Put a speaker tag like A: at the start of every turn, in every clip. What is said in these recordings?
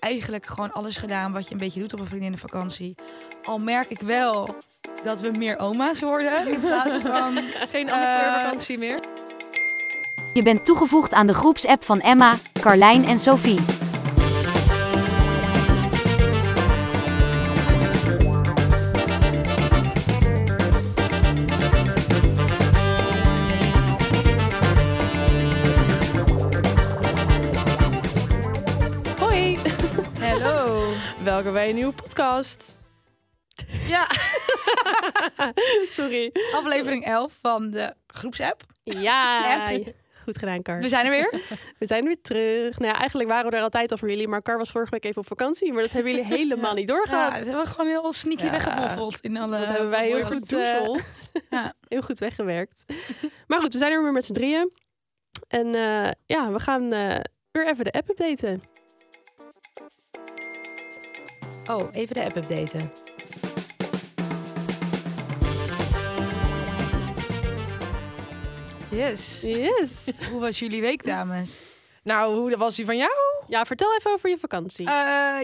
A: eigenlijk gewoon alles gedaan wat je een beetje doet op een vriendinnenvakantie. Al merk ik wel dat we meer oma's worden in plaats van...
B: Geen
A: Eh,
B: andere vakantie meer.
C: Je bent toegevoegd aan de groepsapp van Emma, Carlijn en Sophie.
B: Hoi,
A: Hello.
B: welkom bij een nieuwe podcast.
A: Ja,
B: Sorry.
A: aflevering 11 van de groepsapp.
B: Ja.
A: Ja.
B: Goed gedaan, Kar.
A: We zijn er weer.
B: We zijn weer terug. Nou ja, eigenlijk waren we er altijd al voor jullie, maar Kar was vorige week even op vakantie. Maar dat hebben jullie helemaal niet
A: Ja,
B: doorgehad.
A: dat hebben we gewoon heel sneaky
B: Ja.
A: weggevoffeld in alle...
B: dat hebben wij heel
A: woorden.
B: goed, eh,
A: Ja.
B: heel goed weggewerkt. Maar goed, we zijn er weer met z'n drieën. En eh, ja, we gaan eh, weer even de app updaten.
D: Oh, even de app updaten.
A: eh, Yes.
B: Yes.
A: Hoe was jullie week, dames?
D: Nou, hoe was die van jou?
B: Ja, vertel even over je vakantie.
A: Eh,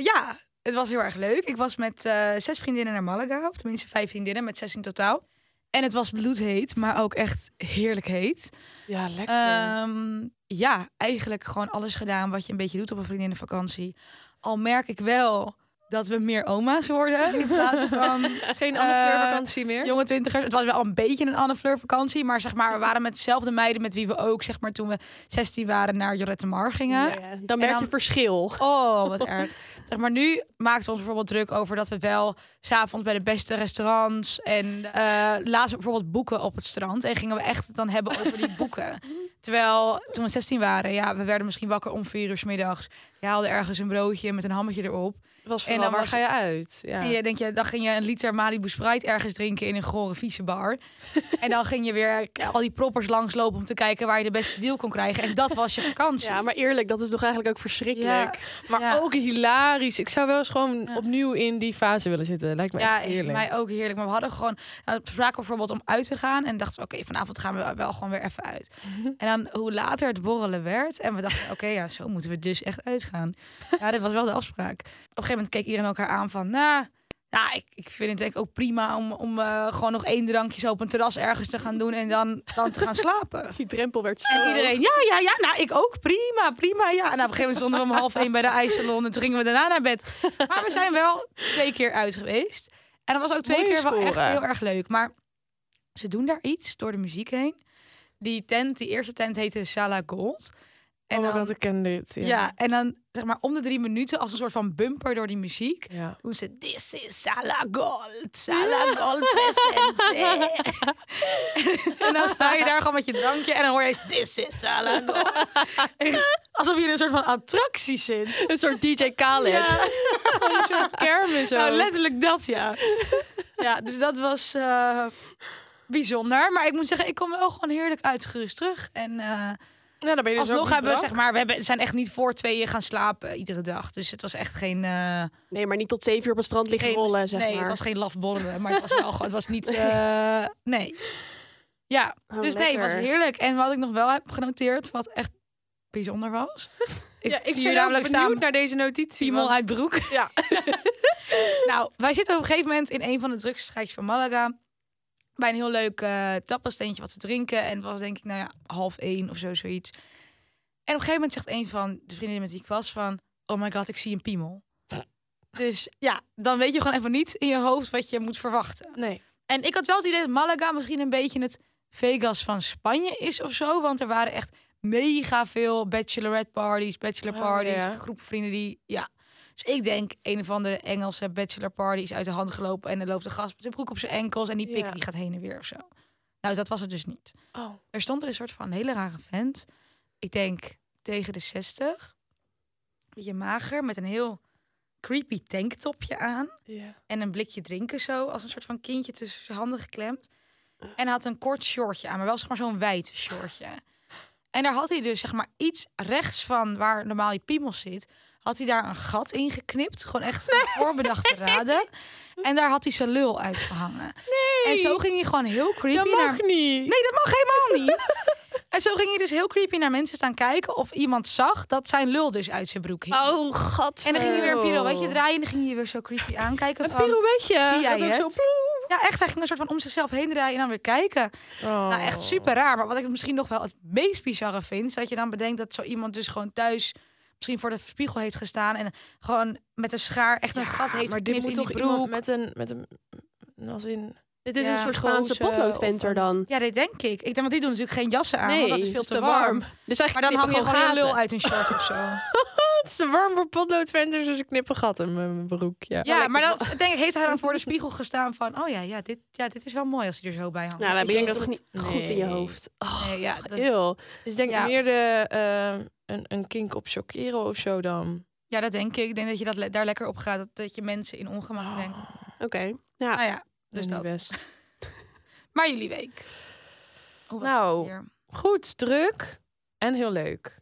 A: ja, het was heel erg leuk. Ik was met eh, zes vriendinnen naar Malaga, of tenminste vijf vriendinnen, met zes in totaal. En het was bloedheet, maar ook echt heerlijk heet.
D: Ja, lekker.
A: Ehm, ja, eigenlijk gewoon alles gedaan wat je een beetje doet op een vriendinnenvakantie. Al merk ik wel dat we meer oma's worden in plaats van
B: Geen
A: andere
B: andere
A: vakantie
B: vakantie meer?
A: jonge twintigers. Het was wel een beetje een Anne Fleur vakantie, maar zeg maar, we waren met dezelfde meiden met wie we ook, zeg maar, toen we 16 waren naar Jorette Mar gingen.
B: Dan merk
A: dan-
B: je verschil.
A: Oh, wat erg. Zeg maar nu maakten we ons bijvoorbeeld druk over dat we wel s'avonds bij de beste restaurants en eh lazen we bijvoorbeeld boeken op het strand en gingen we echt het dan hebben over die boeken. Terwijl toen we 16 waren, ja, we werden misschien wakker om vier uur 's middags. Je haalde ergens een broodje met een hammetje erop.
D: was
A: en
D: vooral,
A: dan
D: waar
A: was-
D: ga je uit? Ja.
A: En je denk je, dan ging je een liter Malibu Sprite ergens drinken in een gore vieze bar. en dan ging je weer al die proppers langslopen om te kijken waar je de beste deal kon krijgen. En dat was je vakantie.
B: Ja, maar eerlijk, dat is toch eigenlijk ook verschrikkelijk.
D: Maar
A: ja.
D: ook hilarisch. Ik zou wel eens gewoon
A: Ja.
D: opnieuw in die fase willen zitten. Lijkt me
A: Ja,
D: echt heerlijk.
A: mij ook heerlijk. Maar we hadden gewoon, nou, we spraken bijvoorbeeld om uit te gaan. En dachten we, oké, vanavond gaan we wel gewoon weer even uit.
D: Mhm.
A: En dan hoe later het borrelen werd. En we dachten, oké, ja, zo moeten we dus echt uitgaan. Ja, dit was wel de afspraak. Op een gegeven moment keek iedereen elkaar aan van, nou... Nou, ik, ik vind het denk ik ook prima om, om eh, gewoon nog één drankje zo op een terras ergens te gaan doen en dan, dan te gaan slapen.
B: Die drempel werd zo.
A: En iedereen, ja, ja, ja. Nou, ik ook. Prima, prima, ja. En op een gegeven moment stonden we om half één bij de ijssalon. En toen gingen we daarna naar bed. Maar we zijn wel twee keer uit geweest. En dat was ook twee
D: Mooie
A: keer wel echt
D: score.
A: heel erg leuk. Maar ze doen daar iets door de muziek heen. Die tent, die eerste tent heette Sala Gold. En
D: En oh,
A: dan,
D: dat ik ken dit. Ja.
A: ja. en dan zeg maar om de drie minuten als een soort van bumper door die muziek.
D: Ja.
A: Toen ze, this is Sala Gold, Sala Gold presente. en dan sta je daar gewoon met je drankje en dan hoor je eens, this is Sala Gold. Echt alsof je in een soort van attractie zit.
B: Een soort DJ Khaled.
A: Ja.
D: Een soort kermis ook.
A: Nou, letterlijk dat, ja. Ja, dus dat was eh, bijzonder. Maar ik moet zeggen, ik kom wel gewoon heerlijk uitgerust terug. En eh
D: Nou, dan ben je dus ook
A: alsnog
D: niet
A: hebben we,
D: brak.
A: zeg maar, we hebben, zijn echt niet voor tweeën gaan slapen iedere dag. Dus het was echt geen... eh,
B: Nee, maar niet tot zeven uur op het strand liggen
A: Geen-
B: rollen, zeg
A: nee,
B: maar.
A: het was geen lafborrelen, maar het was wel gewoon, het was niet, eh, nee. Ja,
B: Oh,
A: dus nee, het was
B: lekker.
A: heerlijk. En wat ik nog wel heb genoteerd, wat echt bijzonder was. Ik,
D: Ja, ik
A: zie
D: ben
A: hier
D: ook
A: namelijk
D: benieuwd
A: staan,
D: naar deze notitie.
A: Simon
D: want-
A: uit Broek.
D: Ja.
A: nou, wij zitten op een gegeven moment in een van de drukste straatjes van Malaga. Bij een heel leuk eh tappasteentje wat te drinken. En het was denk ik, nou ja, half één of zo, zoiets. En op een gegeven moment zegt een van de vriendinnen met wie ik was van... Oh my god, ik zie een piemel. Dus ja, dan weet je gewoon even niet in je hoofd wat je moet verwachten.
D: Nee.
A: En ik had wel het idee dat Malaga misschien een beetje het Vegas van Spanje is of zo. Want er waren echt mega veel bachelorette parties, bachelor
D: Oh,
A: parties,
D: ja.
A: groepen vrienden die... Ja. Dus ik denk, een van de Engelse bachelor parties uit de hand gelopen. En er loopt een gast met zijn broek op zijn enkels en die pik
D: Ja.
A: die gaat heen en weer of zo. Nou, dat was het dus niet.
D: Oh.
A: Er stond een soort van hele rare vent. Ik denk tegen de 60. Beetje mager, met een heel creepy tanktopje aan.
D: Ja.
A: En een blikje drinken zo, als een soort van kindje tussen zijn handen geklemd. En hij had een kort shortje aan, maar wel zeg maar zo'n wijd shortje. En daar had hij dus zeg maar iets rechts van waar normaal je piemel zit, had hij daar een gat in geknipt. Gewoon echt met voorbedachte raden. En daar had hij zijn lul uitgehangen. En zo ging hij gewoon heel creepy
D: Dat
A: naar...
D: mag niet.
A: Nee, dat mag helemaal niet. En zo ging je dus heel creepy naar mensen staan kijken of iemand zag dat zijn lul dus uit zijn broek hing.
B: Oh, god.
A: En dan ging je weer een pirouetje
D: Oh.
A: draaien en dan ging je weer zo creepy aankijken.
B: Een
A: Van,
B: pirouetje.
A: zie jij
B: Dat ook
A: het? ja, echt, hij ging een soort van om zichzelf heen draaien en dan weer kijken. Nou, echt
D: Oh.
A: super raar. Maar wat ik misschien nog wel het meest bizarre vind, is dat je dan bedenkt dat zo iemand dus gewoon thuis misschien voor de spiegel heeft gestaan en gewoon met een schaar echt een gat heeft
D: maar dit
A: geknipt
D: moet
A: in die
D: toch
A: broek.
D: iemand met een, met een, als in...
B: Dit is
A: Ja,
B: een soort
D: gewoon
B: Spaanse
D: zo'n, eh,
B: potloodventer
D: of een-
B: dan.
A: Ja, dit denk ik. Ik denk, want die doen natuurlijk geen jassen aan,
B: nee,
A: want dat is veel
B: het
A: te warm.
B: Dus
A: Maar
B: eigenlijk
A: dan hang je
B: knippen
A: gewoon je
B: gewoon
A: lul
B: gaten.
A: uit een short of zo.
D: Het is te warm voor potloodventers, dus ik knip een gat in mijn broek. Ja,
A: Ja, maar dat denk ik, heeft hij dan voor de spiegel gestaan van, oh ja, ja, dit, ja, dit is wel mooi als hij er zo bij hangt.
B: Nou, dan ben
D: denk
B: je
D: dat
B: toch niet
D: het-
B: goed in je
D: Nee.
B: hoofd. Oh,
A: Nee, ja, dat,
B: eeuw.
D: Dus ik denk
A: Ja.
D: meer de, eh, een, een kink op Chocero of zo dan.
A: ja, dat denk ik. Ik denk dat je dat le- daar lekker op gaat, dat, dat je mensen in ongemak
D: Oh.
A: brengt.
B: Oké. Ja.
A: Nou ja, Oh, dus
D: is niet
A: dat.
D: Ah, best.
A: Maar jullie week. Hoe was
D: Nou,
A: het hier?
D: Goed, druk en heel leuk.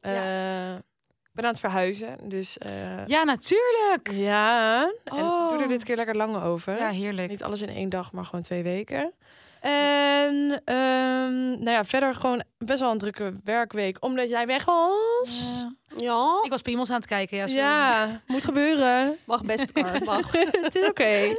A: Ja.
D: Eh, ik ben aan het verhuizen, dus eh,
A: Ja, natuurlijk.
D: ja. En
A: Oh.
D: doe er dit keer lekker lang over.
A: Ja, heerlijk.
D: Niet alles in één dag, maar gewoon twee weken. En ehm, nou ja, verder gewoon best wel een drukke werkweek, omdat jij weg was.
A: Eh,
B: Ja.
A: ik was piemels aan het kijken. Ja, sorry.
D: ja, moet gebeuren.
B: Mag best, Kar. Mag.
D: het is oké.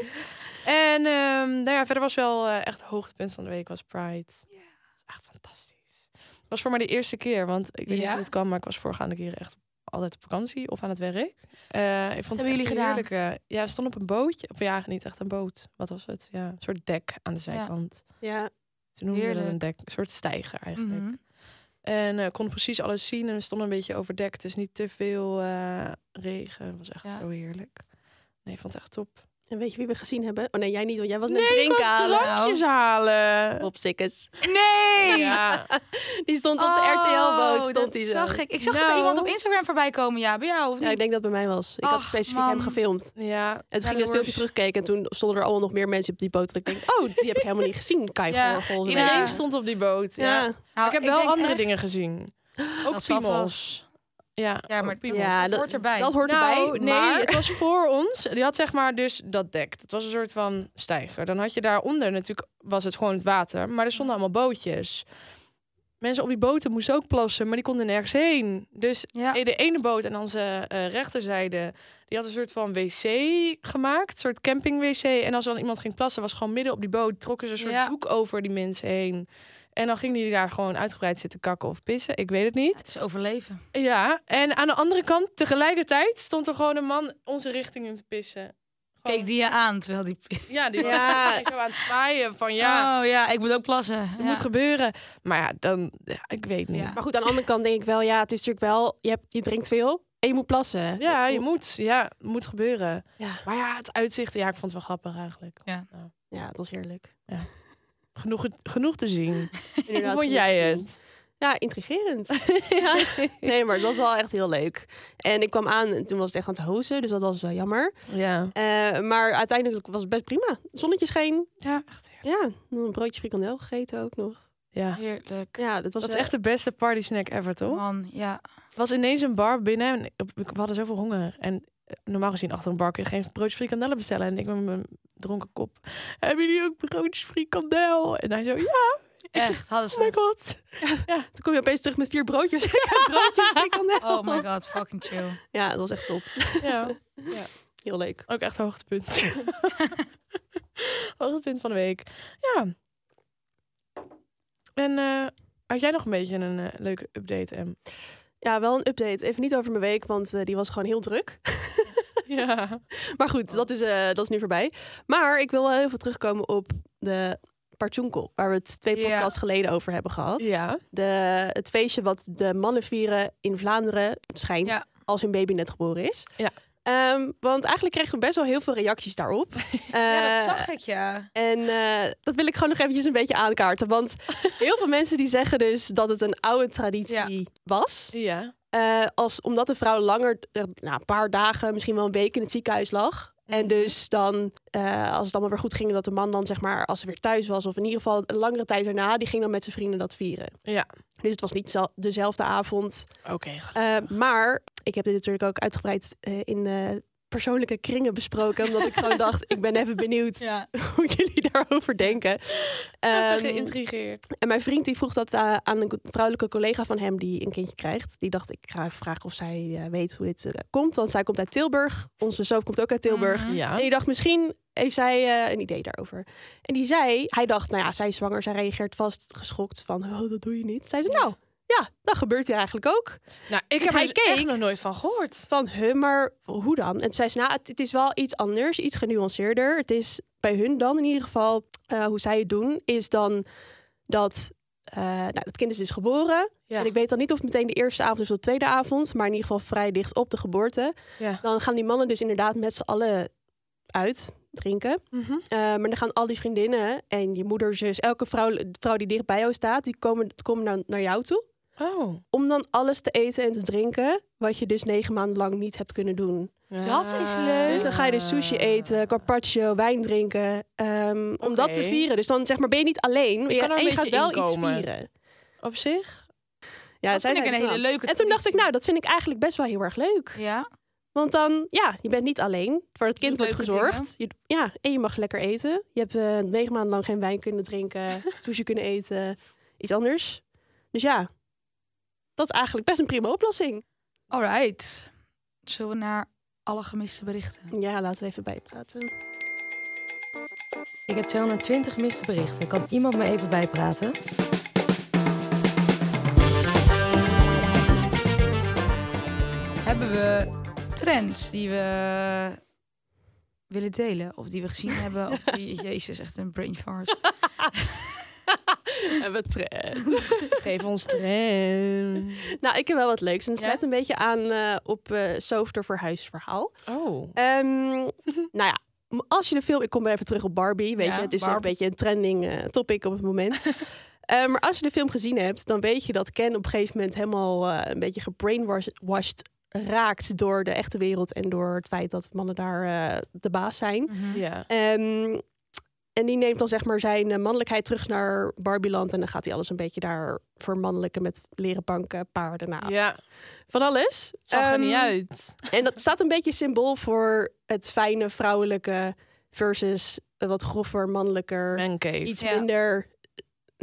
D: En ehm, nou ja, verder was wel eh, echt het hoogtepunt van de week was Pride.
A: Ja.
D: Dat is Echt fantastisch. Het was voor mij de eerste keer, want ik weet niet
A: Ja?
D: hoe het kwam, maar ik was voorgaande keren echt altijd op vakantie of aan het werk. Eh, ik vond
A: hebben
D: het echt
A: jullie
D: een heerlijke- Ja, we stonden op een bootje. Of ja, niet echt een boot. Wat was het? Ja, een soort dek aan de zijkant.
B: Ja.
D: Ze noemden dat
A: Heerlijk.
D: een dek, een soort stijger eigenlijk.
A: Mhm.
D: En eh konden precies alles zien. En we stonden een beetje overdekt. Dus niet te veel eh, regen. Het was echt
A: Ja.
D: zo heerlijk. Nee, ik vond het echt top.
B: En weet je wie we gezien hebben? Oh nee, jij niet, want jij was net
D: Nee, ik
B: drinken
D: was te
B: halen.
D: lampjes halen.
B: Bob Sikkes.
A: Nee!
D: Ja.
B: Die stond op de
A: Oh,
B: RTL-boot.
A: dat
B: Stond hij zo.
A: zag ik. Ik zag
D: Nou.
A: er iemand op Instagram voorbij komen. Ja, bij jou of niet?
B: Ja, ik denk dat het bij mij was. Ik had
A: Ach,
B: specifiek
A: man.
B: hem gefilmd.
D: ja.
B: En toen
D: Ja,
B: ging ik het
D: de
B: filmpje terugkijken. En toen stonden er allemaal nog meer mensen op die boot. Dat ik denk, oh, die heb ik helemaal niet gezien. Kai
A: Ja,
B: voor volgens mij.
D: Iedereen
A: Ja.
D: stond op die boot. Ja.
B: Ja,
A: Nou,
D: Ik heb wel
A: denk
D: andere
A: echt-
D: dingen gezien. Ook
A: zal
D: piemels. Ja,
A: Ja, maar
D: ook
A: piemels,
B: Ja,
A: dat,
B: dat-
A: hoort erbij.
B: dat hoort
D: Nou,
B: erbij.
D: nee,
B: maar...
D: het was voor ons. Die had zeg maar dus dat dek. Het was een soort van steiger. Dan had je daaronder natuurlijk was het gewoon het water, maar er stonden allemaal bootjes. Mensen op die boten moesten ook plassen, maar die konden nergens heen. Dus
A: ja.
D: Eh, De ene boot aan onze eh, rechterzijde, die had een soort van wc gemaakt, een soort camping-wc. En als er dan iemand ging plassen, was gewoon midden op die boot, trokken ze een soort
A: Ja.
D: doek over die mensen heen. En dan gingen die daar gewoon uitgebreid zitten kakken of pissen, ik weet het niet.
A: Het is overleven.
D: Oh. Ja, en aan de andere kant, tegelijkertijd, stond er gewoon een man onze richting in te pissen. Gewoon-
A: Keek die je aan terwijl die...
D: Ja, die was
B: Ja.
D: gewoon zo aan het zwaaien van ja,
A: Ja. Oh ja, ik moet ook plassen.
D: het
A: Ja.
D: moet gebeuren. Maar ja, dan, ja, ik weet niet.
A: Ja.
B: Maar goed, aan de andere kant denk ik wel, ja, het is natuurlijk wel, je, hebt, je drinkt veel en je moet plassen.
D: Ja, je moet. Ja, moet gebeuren.
B: Ja.
D: Maar ja, het uitzicht, ja, ik vond het wel grappig eigenlijk.
B: Ja, dat was heerlijk.
D: Genoeg, genoeg te zien.
B: Inderdaad,
D: Hoe vond
B: genoeg
D: jij
B: gezien. Ja, intrigerend. ja. Nee, maar het was wel echt heel leuk. En ik kwam aan en toen was het echt aan het hozen, dus dat was wel jammer.
D: Ja.
B: Eh, maar uiteindelijk was het best prima. Zonnetje scheen.
A: Ja.
B: Ja, een broodje frikandel gegeten ook nog.
D: ja.
A: Heerlijk.
B: Ja, dat was
D: Dat is
B: eh,
D: echt de beste party snack ever, toch?
A: Man, ja.
D: Het was ineens een bar binnen en ik- we hadden zoveel honger. En eh, normaal gezien achter een bar kun je geen broodjes frikandellen bestellen. En ik met mijn dronken kop. Hebben jullie ook broodjes frikandel? En hij zo, ja,
A: Echt, hadden
D: oh
A: ze
D: my
A: het.
D: god.
B: Toen kom je opeens terug met vier broodjes. Ik heb broodjes frikandel.
A: Oh my god, fucking chill.
B: Ja, dat was echt top.
D: Ja,
B: Heel leuk.
D: ook echt hoogtepunt. hoogtepunt van de week. Ja. En eh, had jij nog een beetje een eh, leuke update, Em?
B: Ja, wel een update. Even niet over mijn week, want eh, die was gewoon heel druk.
D: Ja.
B: Maar goed, dat is, eh, dat is nu voorbij. Maar ik wil wel heel veel terugkomen op de Partunkel, waar we het twee
A: Ja.
B: podcasts geleden over hebben gehad.
D: Ja.
B: De, het feestje wat de mannen vieren in Vlaanderen schijnt
A: Ja.
B: als hun baby net geboren is.
D: Ja.
B: Ehm, want eigenlijk kregen we best wel heel veel reacties daarop.
A: Ja, dat
B: Eh,
A: zag ik, ja.
B: En eh, dat wil ik gewoon nog eventjes een beetje aankaarten. Want heel veel mensen die zeggen dus dat het een oude traditie was.
D: Ja.
B: Eh, als, omdat de vrouw langer, eh, nou, een paar dagen, misschien wel een week in het ziekenhuis lag. En dus dan, eh, als het allemaal weer goed ging, dat de man dan zeg maar, als ze weer thuis was, of in ieder geval een langere tijd daarna, die ging dan met zijn vrienden dat vieren.
D: Ja.
B: Dus het was niet zo- dezelfde avond.
D: Oké,
B: Eh, maar ik heb dit natuurlijk ook uitgebreid eh, in eh, persoonlijke kringen besproken. Omdat ik gewoon dacht, ik ben even benieuwd
A: Ja.
B: hoe jullie daarover denken.
D: Even
B: Ehm,
D: geïntrigeerd.
B: en mijn vriend die vroeg dat eh, aan een vrouwelijke collega van hem die een kindje krijgt. Die dacht, ik ga vragen of zij eh, weet hoe dit eh, komt. Want zij komt uit Tilburg. Onze zoon komt ook uit Tilburg.
A: Mhm.
D: Ja.
B: En die dacht, misschien heeft zij eh, een idee daarover. En die zei, hij dacht, nou ja, zij is zwanger. Zij reageert vast geschokt van, oh, dat doe je niet. Zij zei, nou, ja, dat gebeurt hier eigenlijk ook.
D: Nou,
B: Dus
D: ik heb er
B: hij
D: dus echt
B: keek.
D: nog nooit van gehoord.
B: Van, huh, maar hoe dan? En toen zei ze, nou, het, het is wel iets anders, iets genuanceerder. Het is bij hun dan in ieder geval, eh, hoe zij het doen, is dan dat... eh, nou, dat kind is dus geboren.
D: Ja.
B: En ik weet dan niet of het meteen de eerste avond is of de tweede avond. Maar in ieder geval vrij dicht op de geboorte.
D: Ja.
B: Dan gaan die mannen dus inderdaad met z'n allen uit drinken.
D: Mhm.
B: Eh, maar dan gaan al die vriendinnen en je moeder, zus, elke vrouw, vrouw die dicht bij jou staat, die komen, komen dan naar jou toe.
D: Oh.
B: Om dan alles te eten en te drinken, wat je dus negen maanden lang niet hebt kunnen doen.
A: Dat is
D: Ah.
A: leuk.
B: Dus dan ga je dus sushi eten, carpaccio, wijn drinken. ehm, Om dat te
D: Oké.
B: vieren. Dus dan zeg maar ben je niet alleen. Maar
D: Je
B: je,
D: kan er
B: en
D: een
B: je gaat
D: beetje
B: wel
D: inkomen.
B: iets vieren.
D: Op zich?
B: Ja,
A: dat
B: zij
A: vind ik
B: zei
A: een
B: van,
A: hele leuke
B: En toen dacht ik,
A: traditie.
B: nou, dat vind ik eigenlijk best wel heel erg leuk.
A: Ja,
B: Want dan, ja, je bent niet alleen. Voor het kind
A: Doet
B: wordt
A: leuke
B: gezorgd. Je, ja, en je mag lekker eten. Je hebt eh, negen maanden lang geen wijn kunnen drinken, sushi kunnen eten, iets anders. Dus ja, dat is eigenlijk best een prima oplossing.
A: alright. Zullen we naar alle gemiste berichten?
B: Ja, laten we even bijpraten.
E: Ik heb 220 miste berichten. Kan iemand me even bijpraten?
A: Hebben we trends die we willen delen? Of die we gezien hebben? Of die, jezus, echt een brain fart.
B: en we trend.
D: Geef ons trend.
B: Nou, ik heb wel wat leuks. En het
A: Ja?
B: sluit een beetje aan eh, op eh Soofter voor huisverhaal.
D: Oh.
B: Ehm, nou ja, m- als je de film... Ik kom weer even terug op Barbie. Weet
A: Ja,
B: je, het is nog een
A: Barbie.
B: beetje een trending eh, topic op het moment. Eh, maar als je de film gezien hebt, dan weet je dat Ken op een gegeven moment helemaal eh, een beetje gebrainwashed raakt door de echte wereld en door het feit dat mannen daar eh, de baas zijn.
D: Ja.
B: Ehm, en die neemt dan zeg maar zijn eh, mannelijkheid terug naar Barbieland. En dan gaat hij alles een beetje daar vermannelijken met leren banken, paarden, nou,
D: Ja.
B: van alles.
D: Zag er
B: Ehm,
D: niet uit.
B: En dat staat een beetje symbool voor het fijne vrouwelijke versus eh, wat grover, mannelijker.
D: Mancave.
B: Iets
A: Ja.
B: minder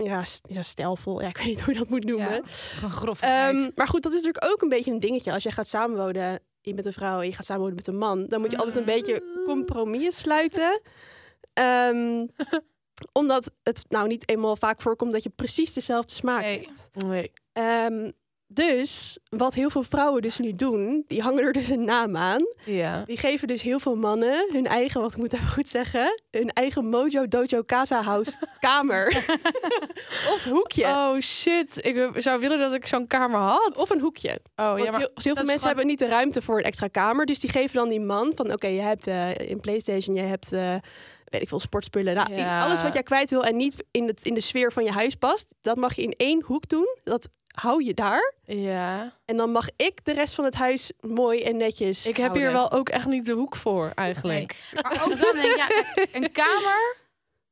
B: ja, s- ja, stijlvol. Ja, ik weet niet hoe je dat moet noemen.
A: Ja, een grove
B: Ehm, maar goed, dat is natuurlijk ook een beetje een dingetje. Als jij gaat samenwonen, je bent een vrouw en je gaat samenwonen met een man, dan moet je altijd een beetje
D: Mm.
B: compromissen sluiten. Ehm, omdat het nou niet eenmaal vaak voorkomt dat je precies dezelfde smaak
A: Nee.
B: hebt.
D: Nee.
B: Ehm, dus wat heel veel vrouwen dus nu doen, die hangen er dus een naam aan.
D: Ja.
B: Die geven dus heel veel mannen hun eigen, wat ik moet even goed zeggen, hun eigen Mojo Dojo Casa House kamer. of hoekje.
D: Oh shit. Ik eh, zou willen dat ik zo'n kamer had.
B: Of een hoekje.
D: Oh
B: Want
D: ja, maar
B: heel, heel veel mensen
D: gewoon-
B: hebben niet de ruimte voor een extra kamer. Dus die geven dan die man van... Oké, je hebt eh, in Playstation, je hebt... eh, weet ik veel, sportspullen. Nou,
D: Ja.
B: Alles wat jij kwijt wil en niet in, het, in de sfeer van je huis past... dat mag je in één hoek doen. Dat hou je daar.
D: ja.
B: En dan mag ik de rest van het huis mooi en netjes
D: Ik heb
B: houden.
D: hier wel ook echt niet de hoek voor eigenlijk.
A: Maar ook dan denk ik, ja, kijk, een kamer,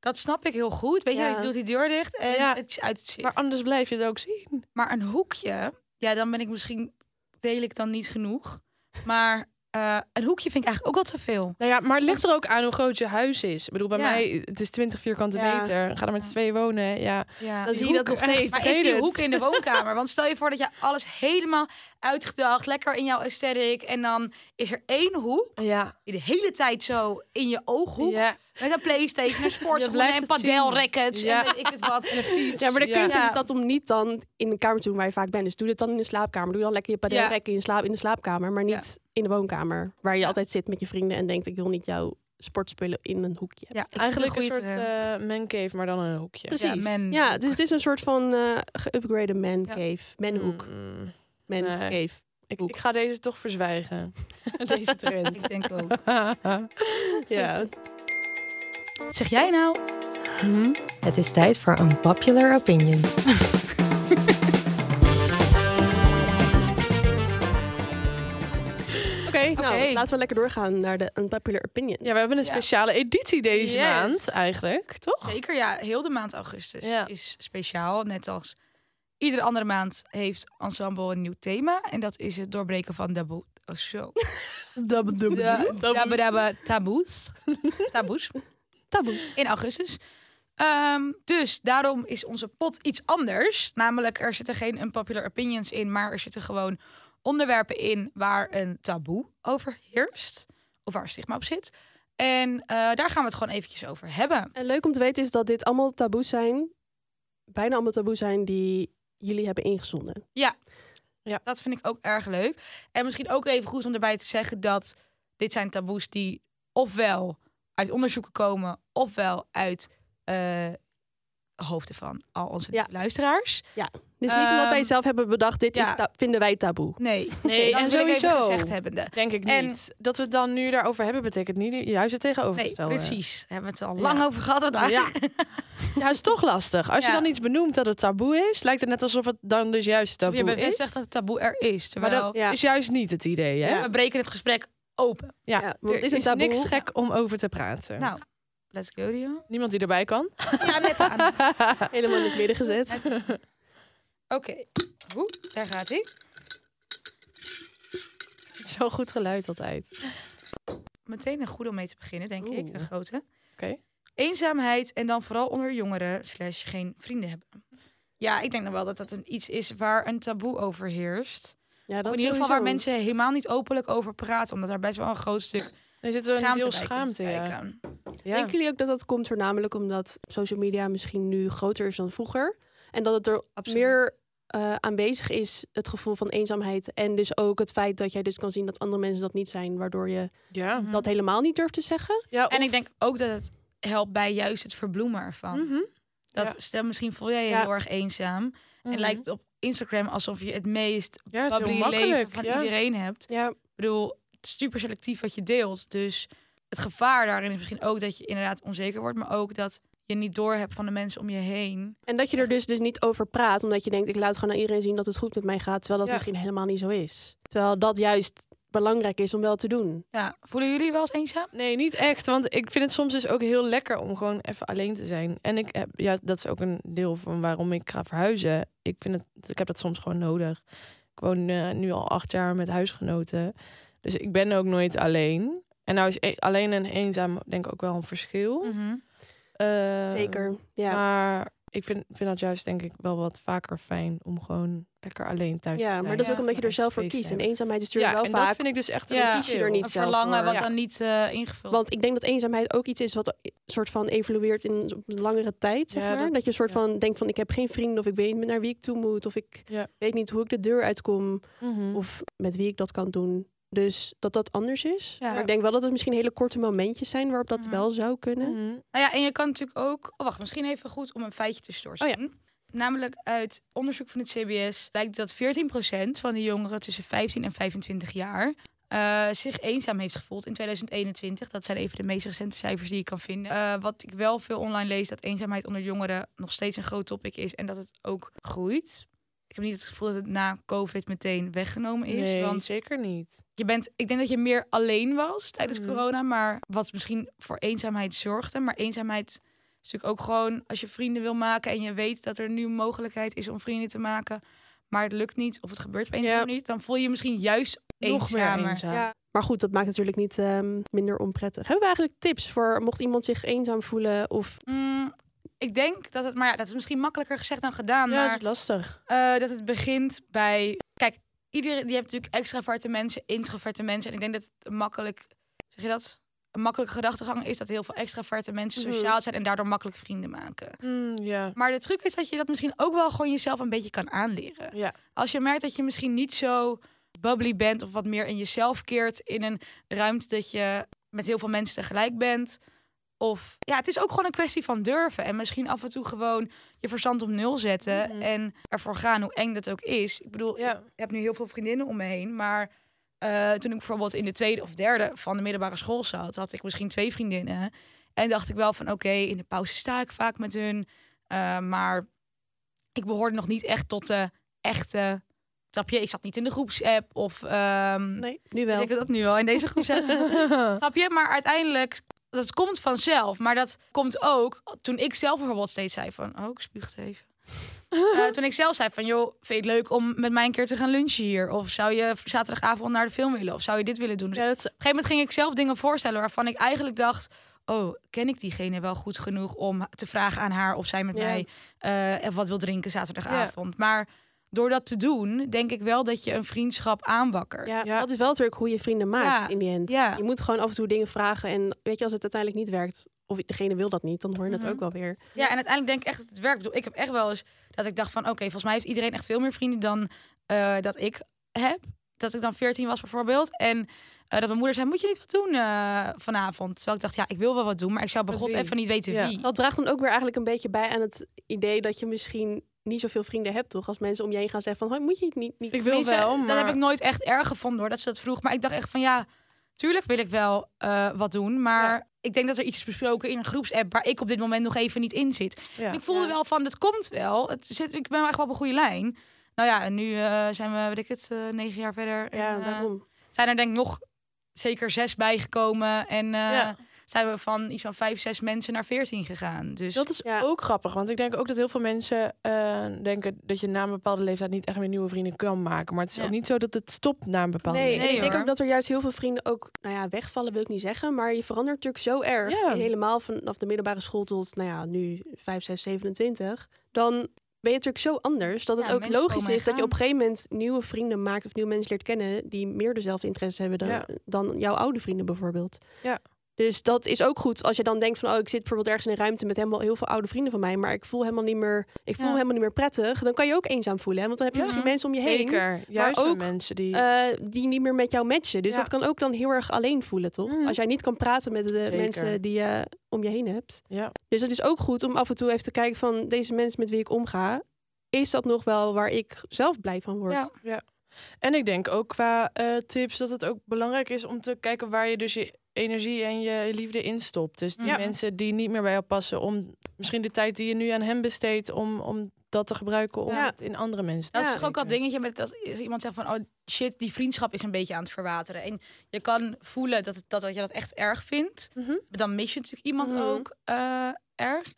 A: dat snap ik heel goed. Weet je,
B: Ja.
A: ik doe die deur dicht en
D: Ja.
A: het is uit het zicht.
D: Maar
A: Maar,
D: anders blijf je het ook zien.
A: een hoekje, ja, dan ben ik misschien, deel ik dan niet genoeg. Maar eh, een hoekje vind ik eigenlijk ook al te veel.
D: Nou ja, maar het ligt er ook aan hoe groot je huis is. Ik bedoel, bij
A: Ja.
D: mij, het is 20 vierkante
B: Ja.
D: meter. Ga er met z'n tweeën wonen. Ja.
A: Ja.
B: Dan
D: Die
B: zie je dat nog
D: hoek,
B: steeds.
D: echt,
A: Maar is
D: Vergeet
A: die
D: het.
A: hoek in de woonkamer? Want stel je voor dat je alles helemaal uitgedacht, lekker in jouw aesthetic. En dan is er één hoek
D: Ja.
A: die de hele tijd zo in je ooghoek.
D: Ja.
A: Met een Playstation, een sportschoenen
D: blijft
A: en
D: het
A: padelrackets
D: Ja.
A: en weet ik het wat. En een fiets.
B: Ja, maar de
D: Ja.
B: kunst
A: Ja.
B: is dat om niet dan in een kamer te doen waar je vaak bent. Dus doe dat dan in de slaapkamer. Doe dan lekker je padelrek in, je slaap, in de slaapkamer, maar niet in de woonkamer. Waar je altijd zit met je vrienden en denkt, ik wil niet jouw sportspullen in een hoekje.
A: Ja, ik vind
D: Eigenlijk een
A: het
D: soort
A: goede trend.
D: eh mancave, maar dan een hoekje.
B: Precies. Ja,
A: Ja, man-
B: dus het is een soort van eh geüpgrade man
A: Ja.
B: cave. Man hoek.
D: Mm.
B: Man
D: Nee.
B: cave.
D: Ik,
B: Hoek.
D: ik ga deze toch verzwijgen. deze trend.
A: Ik denk ook.
B: Ja.
A: Wat zeg jij nou?
D: Hmm?
E: Het is tijd voor Unpopular Opinions.
B: Oké, nou
A: Oké.
B: laten we lekker doorgaan naar de unpopular opinions.
D: ja, we hebben een
A: Ja.
D: speciale editie deze
A: Yes.
D: maand eigenlijk, toch?
A: Zeker, ja. Heel de maand augustus
D: Ja.
A: is speciaal. Net als iedere andere maand heeft Ensemble een nieuw thema. En dat is het doorbreken van taboe- Oh, zo.
D: Dab, dab,
A: Ja,
D: dab.
A: Dabba dabba taboes. Taboes.
E: Taboes.
A: In augustus. Ehm, dus daarom is onze pot iets anders. Namelijk, er zitten geen unpopular opinions in, maar er zitten gewoon onderwerpen in waar een taboe over heerst. Of waar stigma op zit. En eh, daar gaan we het gewoon eventjes over hebben.
B: En leuk om te weten is dat dit allemaal taboes zijn. Bijna allemaal taboes zijn die jullie hebben ingezonden.
A: Dat vind ik ook erg leuk. En misschien ook even goed om erbij te zeggen dat dit zijn taboes die ofwel uit onderzoeken komen, ofwel uit eh, hoofden van al onze
B: Ja.
A: luisteraars.
B: Dus niet omdat wij
A: Ehm,
B: zelf hebben bedacht, dit
A: ja.
B: is ta- vinden wij taboe.
A: Nee,
D: Nee,
A: dat
D: en
A: wil ik even
D: sowieso.
A: gezegd hebbende.
D: Denk ik
A: En-
D: niet. Dat we het dan nu daarover hebben, betekent niet juist het
A: Nee,
D: tegenovergestelde.
A: precies. Daar hebben we het al
D: Ja.
A: lang over gehad vandaag.
D: Ja. ja, is toch lastig. Als
A: Ja.
D: je dan iets benoemt dat het taboe is, lijkt het net alsof het dan dus juist
A: Alsof
D: taboe
A: je bewust
D: is.
A: zegt dat het taboe er is.
D: Maar
A: Terwijl
D: dat
B: Ja.
D: is juist niet het idee, hè?
A: we breken het gesprek open.
D: Ja,
B: Ja, want
D: er
B: het is
D: is,
B: een
A: dus
B: taboe.
D: niks gek om over te praten.
A: Nou, let's go, Dio.
D: Niemand die erbij kan.
A: Ja, net aan. Oké,
B: Helemaal in het midden gezet.
A: Oeh, daar gaat hij.
D: Zo goed geluid altijd.
A: Meteen een goede om mee te beginnen, denk ik. Een
D: Oeh.
A: grote.
D: Oké.
A: Eenzaamheid en dan vooral onder jongeren slash geen vrienden hebben. Ja, ik denk dan wel dat dat een iets is waar een taboe over heerst.
B: Ja, dat
A: Of in ieder geval
B: sowieso.
A: waar mensen helemaal niet openlijk over praten. Omdat daar best wel een groot stuk
D: Er zit een
A: schaamte
D: deel
A: bij komt
D: schaamte, ja.
A: kijken.
D: Ja.
B: Denken jullie ook dat dat komt voornamelijk omdat social media misschien nu groter is dan vroeger? En dat het er
A: Absoluut.
B: meer eh, aanwezig is, het gevoel van eenzaamheid. En dus ook het feit dat jij dus kan zien dat andere mensen dat niet zijn. Waardoor je
D: Ja.
A: Mhm.
B: dat helemaal niet durft te zeggen.
D: ja
A: En
D: of-
A: ik denk ook dat het helpt bij juist het verbloemen ervan.
D: Mhm.
A: Dat
D: Ja.
A: stel, misschien voel jij je
B: Ja.
A: heel erg eenzaam.
D: Mhm.
A: En lijkt het op Instagram alsof je het meest
D: ja, het is heel
A: bubbly leven
D: makkelijk.
A: van
D: Ja.
A: iedereen hebt.
B: Ja,
A: Ik bedoel, het is super selectief wat je deelt. Dus het gevaar daarin is misschien ook dat je inderdaad onzeker wordt. Maar ook dat je niet doorhebt van de mensen om je heen.
B: En dat je er dus, dus niet over praat, omdat je denkt, ik laat gewoon aan iedereen zien dat het goed met mij gaat, terwijl dat
D: Ja.
B: misschien helemaal niet zo is. Terwijl dat juist belangrijk is om wel te doen.
A: Ja, voelen jullie wel eens eenzaam?
D: Nee, niet echt. Want ik vind het soms dus ook heel lekker om gewoon even alleen te zijn. En ik heb, ja, dat is ook een deel van waarom ik ga verhuizen. Ik vind het, ik heb dat soms gewoon nodig. Ik woon eh, nu al acht jaar met huisgenoten. Dus ik ben ook nooit alleen. En nou is e- alleen en eenzaam denk ik ook wel een verschil.
A: Mm.
D: Eh,
B: Zeker. Ja.
D: Maar ik vind, vind dat juist denk ik wel wat vaker fijn om gewoon lekker alleen thuis te
B: ja,
D: zijn.
B: maar dat is ook
A: Ja,
B: een beetje er zelf voor
D: feest
B: kiest. En
D: hebben.
B: eenzaamheid is
D: Ja,
B: natuurlijk
D: en
B: wel vaak.
D: dat vind ik dus echt
A: Ja.
D: een
A: Kies
B: je er
D: verschil.
B: niet
A: Een
B: zelf
A: verlangen
B: voor.
A: wat
D: Ja.
A: dan niet eh, ingevuld
B: Want ik denk dat eenzaamheid ook iets is wat een soort van evolueert in op een langere tijd, zeg
D: Ja,
B: maar.
D: dat-
B: Dat, je een soort
D: ja.
B: van denkt van, ik heb geen vrienden of ik weet niet naar wie ik toe moet. Of ik
D: Ja.
B: weet niet hoe ik de deur uitkom
D: Mhm.
B: of met wie ik dat kan doen. Dus dat dat anders is.
A: Ja.
B: Maar ik denk wel dat het misschien hele korte momentjes zijn waarop dat
A: Mhm.
D: Mm.
B: wel zou kunnen.
D: Mhm.
A: Nou ja, en je kan natuurlijk ook. Oh, wacht, misschien even goed om een feitje tussendoor te
D: Oh ja.
A: doen. Namelijk uit onderzoek van het CBS blijkt dat 14% van de jongeren tussen 15 en 25 jaar eh, zich eenzaam heeft gevoeld in 2021. Dat zijn even de meest recente cijfers die je kan vinden. Eh, wat ik wel veel online lees, dat eenzaamheid onder jongeren nog steeds een groot topic is en dat het ook groeit. Ik heb niet het gevoel dat het na COVID meteen weggenomen is.
D: nee,
A: want
D: zeker niet.
A: je bent, ik denk dat je meer alleen was tijdens
D: Mhm.
A: corona, maar wat misschien voor eenzaamheid zorgde. Maar eenzaamheid is natuurlijk ook gewoon als je vrienden wil maken en je weet dat er nu een mogelijkheid is om vrienden te maken, maar het lukt niet of het gebeurt op een of
B: Ja.
A: andere manier, dan voel je je misschien juist
D: Nog meer
A: eenzamer.
D: eenzaam.
B: Maar goed, dat maakt natuurlijk niet ehm, minder onprettig. Hebben we eigenlijk tips voor mocht iemand zich eenzaam voelen of
A: Mm, ik denk dat het, maar ja, dat is misschien makkelijker gezegd dan gedaan.
D: Ja, dat
A: maar
D: is lastig.
A: Eh, dat het begint bij. Kijk, iedereen die hebt natuurlijk extraverte mensen, introverte mensen. En ik denk dat het een makkelijk, zeg je dat? Een makkelijke gedachtegang is dat heel veel extraverte mensen
B: Mhm.
A: sociaal zijn en daardoor makkelijk vrienden maken.
D: ja.
A: Maar de truc is dat je dat misschien ook wel gewoon jezelf een beetje kan aanleren.
D: Ja.
A: Als je merkt dat je misschien niet zo bubbly bent of wat meer in jezelf keert in een ruimte dat je met heel veel mensen tegelijk bent. Of ja, het is ook gewoon een kwestie van durven. En misschien af en toe gewoon je verstand op nul zetten
D: Mhm.
A: en ervoor gaan, hoe eng dat ook is. Ik bedoel,
D: Ja.
A: ik heb nu heel veel vriendinnen om me heen, maar eh, toen ik bijvoorbeeld in de tweede of derde van de middelbare school zat, had ik misschien twee vriendinnen. En dacht ik wel van oké, in de pauze sta ik vaak met hun. eh, maar ik behoorde nog niet echt tot de echte. Snap je? Ik zat niet in de groepsapp of. ehm
B: nee, nu
A: ik
B: wel.
A: denk dat nu al in deze groepsapp. Snap je? Maar uiteindelijk, dat komt vanzelf. Maar dat komt ook toen ik zelf bijvoorbeeld steeds zei van... Oh, ik spuugt even. Eh, toen ik zelf zei van, joh, vind je het leuk om met mij een keer te gaan lunchen hier? Of zou je zaterdagavond naar de film willen? Of zou je dit willen doen? Dus
D: Ja, dat is-
A: op een gegeven moment ging ik zelf dingen voorstellen waarvan ik eigenlijk dacht. Oh, ken ik diegene wel goed genoeg om te vragen aan haar of zij met
D: Ja.
A: mij eh, wat wil drinken zaterdagavond. Maar door dat te doen, denk ik wel dat je een vriendschap aanwakkert.
B: Ja,
D: Ja.
B: dat is wel natuurlijk hoe je vrienden maakt
A: Ja,
B: in die end.
A: ja.
B: Je moet gewoon af en toe dingen vragen. En weet je, als het uiteindelijk niet werkt, of degene wil dat niet, dan hoor je dat
A: Mhm.
B: ook wel weer.
A: Ja, en uiteindelijk denk ik echt dat het werkt. Ik bedoel, Ik heb echt wel eens dat ik dacht van... oké, volgens mij heeft iedereen echt veel meer vrienden dan eh, dat ik heb. Dat ik dan 14 was bijvoorbeeld. En eh, dat mijn moeder zei, moet je niet wat doen eh, vanavond? Terwijl ik dacht, ja, ik wil wel wat doen... maar ik zou bij
D: Met
A: god
D: wie?
A: even niet weten
D: Ja.
A: wie.
B: Dat draagt dan ook weer eigenlijk een beetje bij aan het idee dat je misschien niet zoveel vrienden hebt, toch? Als mensen om je heen gaan zeggen van, "Hoi, moet je het niet... niet...
D: Ik wil
A: Tenminste,
D: wel, maar...
A: Dat heb ik nooit echt erg gevonden hoor, dat ze dat vroeg. Maar ik dacht echt van ja, tuurlijk wil ik wel eh, wat doen. Maar
D: Ja.
A: ik denk dat er iets is besproken in een groepsapp waar ik op dit moment nog even niet in zit.
D: Ja.
A: En ik voelde
B: Ja.
A: wel van, het komt wel. Het zit, ik ben wel echt wel op een goede lijn. Nou ja, en nu eh, zijn we, weet ik het, eh, negen jaar verder.
B: Ja,
A: en, eh,
B: daarom.
A: zijn er denk ik nog zeker zes bijgekomen. En eh,
D: Ja.
A: zijn we van iets van vijf, zes mensen naar veertien gegaan. Dus
D: Dat is
B: Ja.
D: ook grappig, want ik denk ook dat heel veel mensen eh, denken dat je na een bepaalde leeftijd niet echt meer nieuwe vrienden kan maken. Maar het is
A: Ja.
D: ook niet zo dat het stopt na een bepaalde
B: Nee,
A: Nee,
B: en ik denk
A: hoor.
B: ook dat er juist heel veel vrienden ook, nou ja, wegvallen wil ik niet zeggen, maar je verandert natuurlijk zo erg.
D: Ja.
B: Helemaal vanaf de middelbare school tot, nou ja, nu 5, 6, 27. Dan ben je natuurlijk zo anders dat het
A: Ja,
B: ook
A: mensen
B: logisch
A: komen en
B: is dat je
A: gaan.
B: op een gegeven moment nieuwe vrienden maakt of nieuwe mensen leert kennen die meer dezelfde interesses hebben dan,
D: Ja.
B: dan jouw oude vrienden bijvoorbeeld.
D: Ja.
B: Dus dat is ook goed als je dan denkt van, oh, ik zit bijvoorbeeld ergens in een ruimte met helemaal heel veel oude vrienden van mij, maar ik voel helemaal niet meer, ik voel
A: Ja.
B: me helemaal niet meer prettig. Dan kan je ook eenzaam voelen, hè? want dan heb je
D: Ja.
B: misschien mensen om je heen
D: Zeker, juist
B: ook,
D: ook mensen die...
B: eh, die niet meer met jou matchen. Dus
D: Ja.
B: dat kan ook dan heel erg alleen voelen, toch?
D: Mhm.
B: Als jij niet kan praten met de mensen die je om je heen hebt.
D: ja.
B: Dus het is ook goed om af en toe even te kijken van deze mensen met wie ik omga. Is dat nog wel waar ik zelf blij van word?
A: Ja.
D: En ik denk ook qua eh, tips dat het ook belangrijk is om te kijken waar je dus je energie en je liefde in stopt. Dus die
A: Ja.
D: mensen die niet meer bij jou passen, om misschien de tijd die je nu aan hem besteedt, om, om dat te gebruiken om
B: Ja.
D: het in andere mensen te
A: Dat is toch ook
D: steken.
A: dat dingetje met dat iemand zegt van oh shit, die vriendschap is een beetje aan het verwateren. En je kan voelen dat, het, dat, dat je dat echt erg vindt.
D: Mhm.
A: Dan mis je natuurlijk iemand
B: Mhm.
A: ook eh, erg.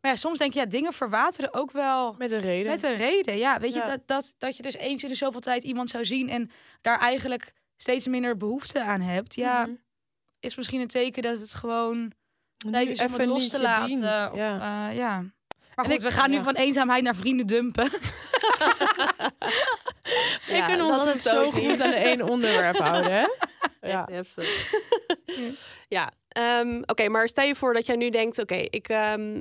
A: Maar ja, soms denk je, ja, dingen verwateren ook wel
D: Met een reden.
A: met een reden. Ja, weet
D: Ja.
A: je, dat, dat, dat je dus eens in de zoveel tijd iemand zou zien en daar eigenlijk steeds minder behoefte aan hebt. Ja,
D: Mhm.
A: is misschien een teken dat het gewoon
D: Nu
A: tijd is om het
D: even
A: los
D: niet
A: te
D: je
A: laten.
D: dient.
A: Of,
D: Ja.
A: eh, ja. Maar
D: En
A: goed,
D: ik-
A: we gaan nu
D: ja.
A: van eenzaamheid naar vrienden dumpen.
D: ik vind ons
B: dat
D: altijd
B: is
D: zo
B: ook
D: goed
B: niet.
D: aan één onderwerp houden. Hè?
B: Ja.
D: Ja.
B: ja. ehm, Oké, maar stel je voor dat jij nu denkt: oké, ik, ehm,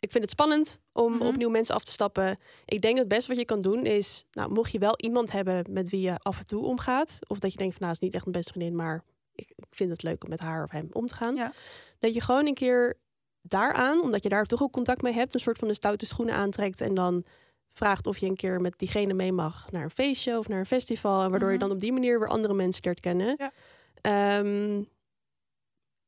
B: ik vind het spannend om
A: Mhm.
B: opnieuw mensen af te stappen. Ik denk dat het beste wat je kan doen is: nou, mocht je wel iemand hebben met wie je af en toe omgaat, of dat je denkt van nou, is niet echt mijn beste vriendin, maar ik, ik vind het leuk om met haar of hem om te gaan,
A: Ja.
B: dat je gewoon een keer daaraan, omdat je daar toch ook contact mee hebt, een soort van de stoute schoenen aantrekt en dan vraagt of je een keer met diegene mee mag naar een feestje of naar een festival. En waardoor je
A: Mhm.
B: dan op die manier weer andere mensen leert kennen.
D: Ja.
B: Ehm,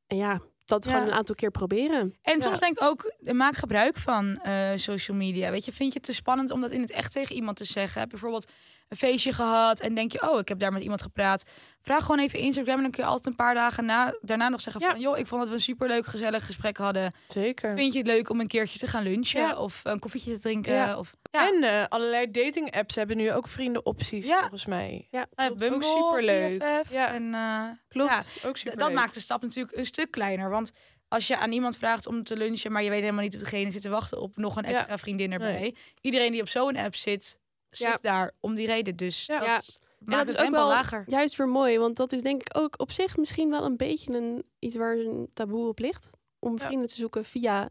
B: en ja, dat
A: Ja.
B: gewoon een aantal keer proberen.
A: En
D: Ja.
A: soms denk ik ook, eh, maak gebruik van eh, social media. Weet je, vind je het te spannend om dat in het echt tegen iemand te zeggen? Heb je bijvoorbeeld een feestje gehad en denk je, oh, ik heb daar met iemand gepraat. Vraag gewoon even Instagram en dan kun je altijd een paar dagen na, daarna nog zeggen
D: Ja.
A: van, joh, ik vond dat we een superleuk gezellig gesprek hadden.
D: Zeker.
A: Vind je het leuk om een keertje te gaan lunchen
D: Ja.
A: of een koffietje te drinken?
D: Ja.
A: Of,
D: En eh, allerlei dating apps hebben nu ook vriendenopties
A: Ja.
D: volgens mij.
B: Ja,
A: eh,
D: klopt.
A: Bumble,
D: Ook superleuk.
A: BFF.
D: Ja.
A: En, eh,
D: Klopt.
A: Ja,
D: ook
A: D-
D: super.
A: dat maakt de stap natuurlijk een stuk kleiner. Want als je aan iemand vraagt om te lunchen, maar je weet helemaal niet of degene zit te wachten op nog een
D: Ja.
A: extra vriendin erbij.
D: Nee.
A: Iedereen die op zo'n app zit, zit
B: Ja.
A: daar om die reden. Dus
D: Ja.
A: dat
B: Ja.
A: maakt het
B: is ook
A: tempo
B: wel-
A: lager.
B: Juist weer mooi, want dat is denk ik ook op zich misschien wel een beetje een, iets waar een taboe op ligt. Om
D: Ja.
B: vrienden te zoeken via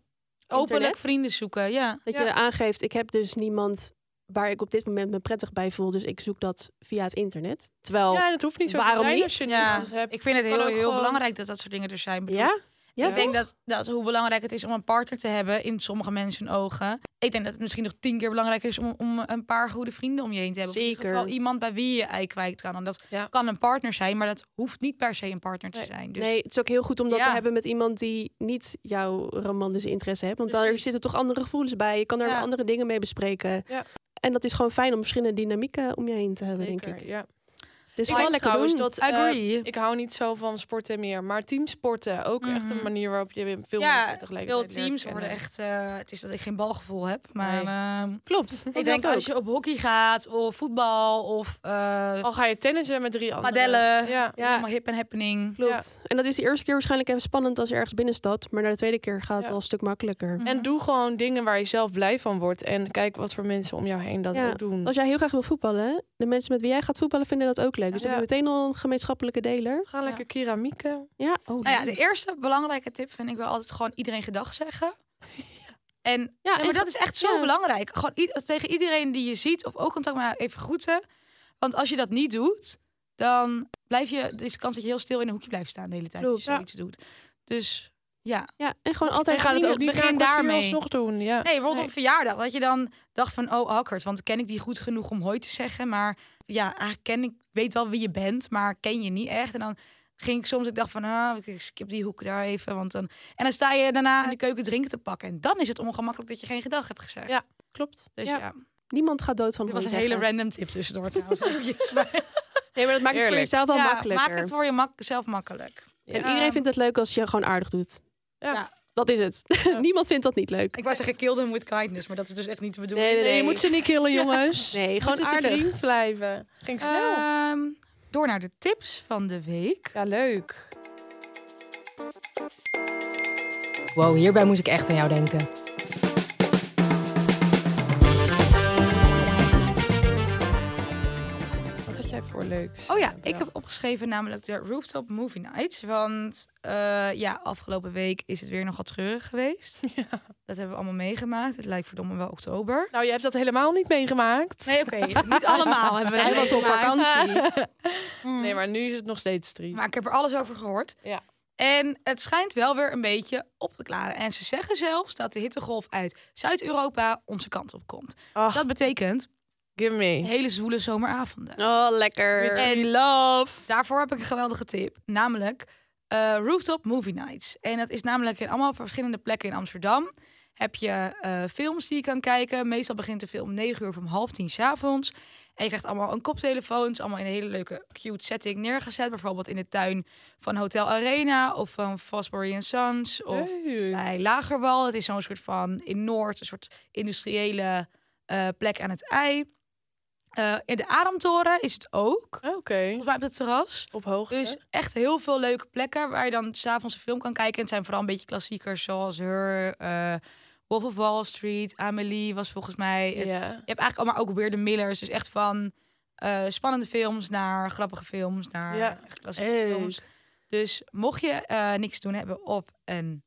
A: Openlijk
B: Internet.
A: vrienden zoeken, ja.
B: dat
D: Ja.
B: je aangeeft, ik heb dus niemand waar ik op dit moment me prettig bij voel. Dus ik zoek dat via het internet. Terwijl,
D: Ja, en het hoeft niet zo te
B: Waarom
D: zijn
B: niet?
D: als je
A: ja.
D: niemand hebt.
A: Ik vind het
D: Kan
A: heel,
D: ook
A: heel
D: gewoon-
A: belangrijk dat dat soort dingen er zijn. Ik bedoel,
B: ja, ja,
A: ik denk dat, dat hoe belangrijk het is om een partner te hebben in sommige mensen hun ogen. Ik denk dat het misschien nog tien keer belangrijker is om, om een paar goede vrienden om je heen te hebben. Of in
B: Zeker.
A: ieder geval iemand bij wie je je ei kwijt kan. En dat
D: Ja.
A: kan een partner zijn, maar dat hoeft niet per se een partner te
D: Nee.
A: zijn. Dus.
B: Nee, het is ook heel goed om dat te
A: Ja.
B: hebben met iemand die niet jouw romantische interesse hebt. Want daar
D: Precies.
B: zitten toch andere gevoelens bij. Je kan daar
A: Ja.
B: andere dingen mee bespreken.
D: Ja.
B: En dat is gewoon fijn om verschillende dynamieken om je heen te hebben,
D: Zeker,
B: denk ik.
D: ja.
B: Dus
D: Ik
B: wel
D: denk
B: lekker
D: trouwens
B: doen.
D: dat eh,
A: Agree.
D: ik hou niet zo van sporten meer, maar teamsporten ook echt een
A: Mhm.
D: manier waarop je weer veel
A: Ja,
D: mensen tegelijkertijd
A: Veel
D: leert
A: teams worden
D: kennen.
A: echt... eh, het is dat ik geen balgevoel heb, maar...
D: Nee.
A: ehm,
D: Klopt.
A: ik denk als je op hockey gaat, of voetbal, of eh
D: Al ga je tennissen met drie anderen.
A: padellen.
D: Oh, Ja.
A: ja. Mhm. helemaal hip en happening.
B: Klopt. En dat is de eerste keer waarschijnlijk even spannend als je ergens binnen staat. Maar na de tweede keer gaat het
D: Ja.
B: al een stuk makkelijker.
A: Mhm.
D: En doe gewoon dingen waar je zelf blij van wordt. En kijk wat voor mensen om jou heen dat
B: Ja.
D: ook doen.
B: Als jij heel graag wil voetballen, hè, de mensen met wie jij gaat voetballen vinden dat ook leuk. Dus dan
D: Ja.
B: heb je meteen al een gemeenschappelijke deler.
D: Ga lekker keramieken.
B: Ja, oh,
A: Nou ja,
B: leuk.
A: de eerste belangrijke tip vind ik wel altijd gewoon iedereen gedag zeggen. En,
B: Ja,
A: nee, maar
B: en
A: dat is echt zo
B: ja.
A: belangrijk. Gewoon i- tegen iedereen die je ziet of ook contact maar even groeten. Want als je dat niet doet, dan blijf je, er is de kans dat je heel stil in een hoekje blijft staan de hele tijd als
B: Klopt.
A: je zoiets doet. Dus ja.
B: ja, en gewoon
D: Zij
B: altijd
D: gaan het ook niet
A: begin
D: begin daarmee
A: daarmee.
D: alsnog doen. Ja.
A: Nee, bijvoorbeeld
D: Nee.
A: op verjaardag. Dat je dan dacht van, oh, akkerd, want ken ik die goed genoeg om hoi te zeggen. Maar ja, eigenlijk ken ik, weet wel wie je bent, maar ken je niet echt. En dan ging ik soms, ik dacht van, ah, ik skip die hoek daar even. Want dan... En dan sta je daarna in de keuken drinken te pakken. En dan is het ongemakkelijk dat je geen gedag hebt gezegd.
D: Ja. Klopt.
A: Dus ja,
D: ja.
B: Niemand gaat dood van
A: dit was een
B: honger
A: hele
B: zeggen.
A: random tip tussendoor trouwens. eventjes, maar-
B: Nee, maar dat maakt het voor
D: Eerlijk.
B: jezelf wel
A: Ja,
B: makkelijker.
A: Maak het voor je mak- zelf makkelijk.
B: En
A: Ja.
B: iedereen vindt het leuk als je gewoon aardig doet.
D: Ja.
A: Ja.
B: Dat is het. Niemand vindt dat niet leuk.
A: Ik wou zeggen, kill them with kindness, maar dat is dus echt niet de bedoeling.
B: Nee,
D: Nee, je moet ze niet killen, jongens.
B: Nee,
D: Je
B: gewoon
D: moet ze te
B: aardig.
D: vriend blijven. Ging snel.
A: Ehm, door naar de tips van de week.
D: ja, leuk.
E: Wow, hierbij moest ik echt aan jou denken.
D: Wat had jij voor leuks?
A: Oh ja,
D: eh,
A: ik heb opgeschreven namelijk de Rooftop Movie Nights. Want eh, ja, afgelopen week is het weer nogal treurig geweest. Dat hebben we allemaal meegemaakt. Het lijkt verdomme wel oktober.
D: Nou, je hebt dat helemaal niet meegemaakt.
A: Nee, oké, niet allemaal hebben we
B: Hij was op
A: meegemaakt.
B: vakantie.
D: Nee, maar nu is het nog steeds triest.
A: Maar ik heb er alles over gehoord.
D: Ja.
A: En het schijnt wel weer een beetje op te klaren. En ze zeggen zelfs dat de hittegolf uit Zuid-Europa onze kant op komt.
D: Ach.
A: Dat betekent
D: Give me.
A: hele zwoele zomeravonden.
B: Oh, lekker.
A: En
D: love.
A: Daarvoor heb ik een geweldige tip, namelijk eh, Rooftop Movie Nights. En dat is namelijk in allemaal verschillende plekken in Amsterdam. Heb je eh, films die je kan kijken. Meestal begint de film om 9 uur of om half tien 's avonds. En je krijgt allemaal een koptelefoons, allemaal in een hele leuke cute setting neergezet. Bijvoorbeeld in de tuin van Hotel Arena of van Fosbury and Sons of bij Lagerwal. Het is zo'n soort van in Noord, een soort industriële eh, plek aan het ei. Eh, in de Adamtoren is het ook,
D: Oké.
A: volgens mij op het terras.
D: Op hoogte.
A: Dus echt heel veel leuke plekken waar je dan s'avonds een film kan kijken. En het zijn vooral een beetje klassiekers zoals Her, eh, Wolf of Wall Street, Amelie was volgens mij. het-
D: ja.
A: Je hebt eigenlijk allemaal ook weer de Millers. Dus echt van eh, spannende films naar grappige films, naar
D: Ja.
A: echt klassieke films. Dus mocht je eh, niks doen hebben op een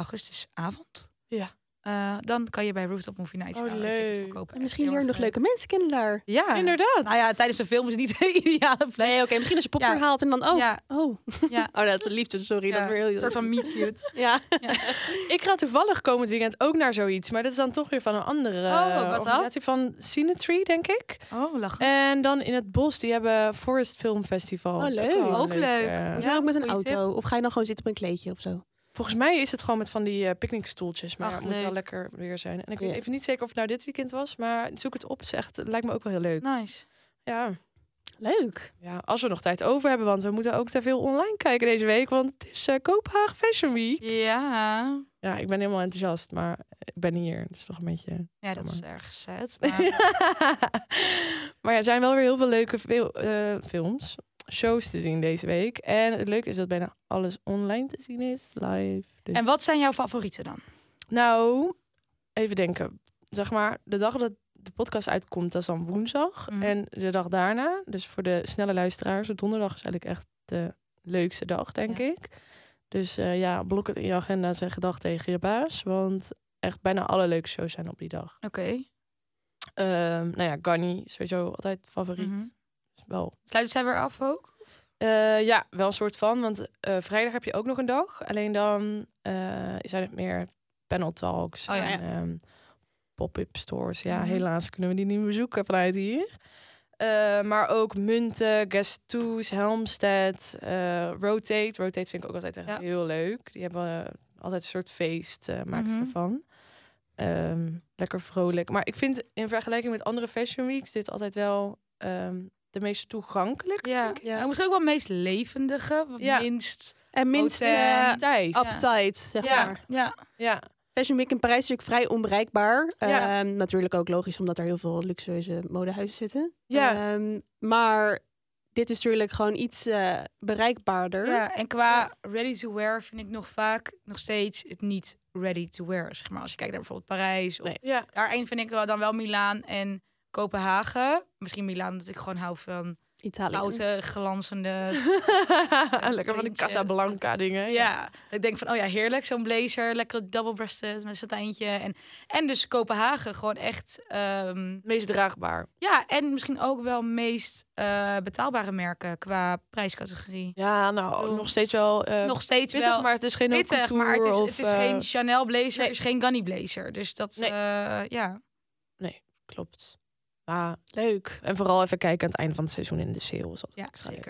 A: augustusavond...
D: Ja.
A: eh, dan kan je bij Rooftop Movie Nights
D: Oh,
A: daar een ticket
D: leuk.
A: voor kopen.
B: En
A: Echt
B: eh, misschien
A: heel
B: leer je
A: erg
B: nog leuke mensen kennen daar.
A: Ja.
D: Inderdaad.
A: Nou ja, tijdens de film is het niet de ideale plek.
B: Nee, oké. misschien als je popcorn
A: Ja.
B: haalt en dan... Oh,
A: Ja,
B: oh.
A: ja.
B: oh dat is liefde. Sorry, dat
A: ja.
B: is weer heel...
A: een soort van meet cute.
B: Ja.
D: Ik ga toevallig komend weekend ook naar zoiets. Maar dat is dan toch weer van een andere
A: Oh, wat
D: eh,
A: dan?
D: organisatie. Van Cinetree, denk ik.
A: Oh, lachen.
D: En dan in het bos, die hebben Forest Film Festival.
B: Oh,
D: Dat is
B: leuk.
D: wel een
A: Ook leuk.
D: eh,
B: Moet je dan ook met een
A: goeie tip.
B: auto? Of ga je dan gewoon zitten op een kleedje of zo?
D: Volgens mij is het gewoon met van die eh, picknickstoeltjes. Maar
A: Ach,
D: het moet
A: leuk.
D: wel lekker weer zijn. En ik
B: Ja.
D: weet even niet zeker of het nou dit weekend was. Maar zoek het op. Het is echt- het lijkt me ook wel heel leuk.
A: Nice.
D: Ja.
B: Leuk.
D: ja, als we nog tijd over hebben. Want we moeten ook te veel online kijken deze week. Want het is eh, Kopenhagen Fashion Week.
A: Ja.
D: Ja, ik ben helemaal enthousiast. Maar ik ben hier. Het is toch een beetje...
A: Ja, dat is
D: Jammer.
A: erg zet. Maar
D: maar ja, er zijn wel weer heel veel leuke fil- eh, films, shows te zien deze week. En het leuke is dat bijna alles online te zien is, live. Dus-
A: En wat zijn jouw favorieten dan?
D: Nou, even denken. Zeg maar, de dag dat de podcast uitkomt, dat is dan woensdag.
A: Mhm.
D: En de dag daarna, dus voor de snelle luisteraars, donderdag is eigenlijk echt de leukste dag, denk
A: Ja.
D: ik. Dus eh, ja, blok het in je agenda en zeg gedag tegen je baas. Want echt bijna alle leuke shows zijn op die dag.
A: Oké.
D: Ehm, nou ja, Gunny, sowieso altijd favoriet.
A: Mhm.
D: Dus wel.
A: Sluiten zij weer af ook?
D: Eh, ja, wel een soort van. Want eh, vrijdag heb je ook nog een dag. Alleen dan eh, zijn het meer panel talks
A: Oh ja.
D: en ehm, pop-up stores. Ja,
A: Mhm.
D: helaas kunnen we die niet bezoeken vanuit hier. Eh, maar ook Munten, Guest Toes, Helmstedt, eh, Rotate. Rotate vind ik ook altijd echt
A: Ja.
D: heel leuk. Die hebben eh, altijd een soort feest, eh maken ze
A: Mhm.
D: ervan. Ehm, lekker vrolijk. Maar ik vind in vergelijking met andere Fashion Weeks dit altijd wel ehm, de meest toegankelijk.
A: Ja.
B: Ja.
A: En misschien ook wel het meest levendige, wat
D: Ja.
A: minst.
B: En minstens
A: Hotel.
B: eh,
D: Stijf.
A: Ja.
B: appetite, zeg
D: Ja.
B: maar.
A: Ja.
D: Ja.
B: Fashion Week in Parijs is natuurlijk vrij onbereikbaar.
D: Ja.
B: Ehm, natuurlijk ook logisch, omdat er heel veel luxueuze modehuizen zitten.
D: Ja.
B: Ehm, maar dit is natuurlijk gewoon iets eh, bereikbaarder.
A: ja. En qua ready-to-wear vind ik nog vaak nog steeds het niet ready-to-wear. Zeg maar als je kijkt naar bijvoorbeeld Parijs. Of...
B: Nee.
D: Ja.
A: Daarin vind ik wel dan wel Milaan en Kopenhagen. Misschien Milaan, omdat ik gewoon hou van
B: Italië.
A: houten, glanzende.
D: Lekker van die
A: Printjes.
D: Casablanca dingen.
A: Ja, ik denk van, oh ja, heerlijk, zo'n blazer, lekker double-breasted met een satijntje. En, en dus Kopenhagen, gewoon echt, ehm,
D: Meest draagbaar.
A: ja, en misschien ook wel meest eh, betaalbare merken qua prijscategorie.
D: Ja, nou,
A: bedoel,
D: nog steeds wel... eh,
A: Nog steeds
D: pittig,
A: wel
D: maar het is geen haute
A: pittig, maar het
D: couture
A: is,
D: of,
A: het is
D: eh,
A: geen Chanel blazer,
D: nee.
A: dus geen Ganni blazer. Dus dat,
D: Nee.
A: eh, ja.
D: Klopt. Ah, leuk. En vooral even kijken aan het einde van het seizoen in de sale. Is altijd
A: Ja,
D: extra leuk.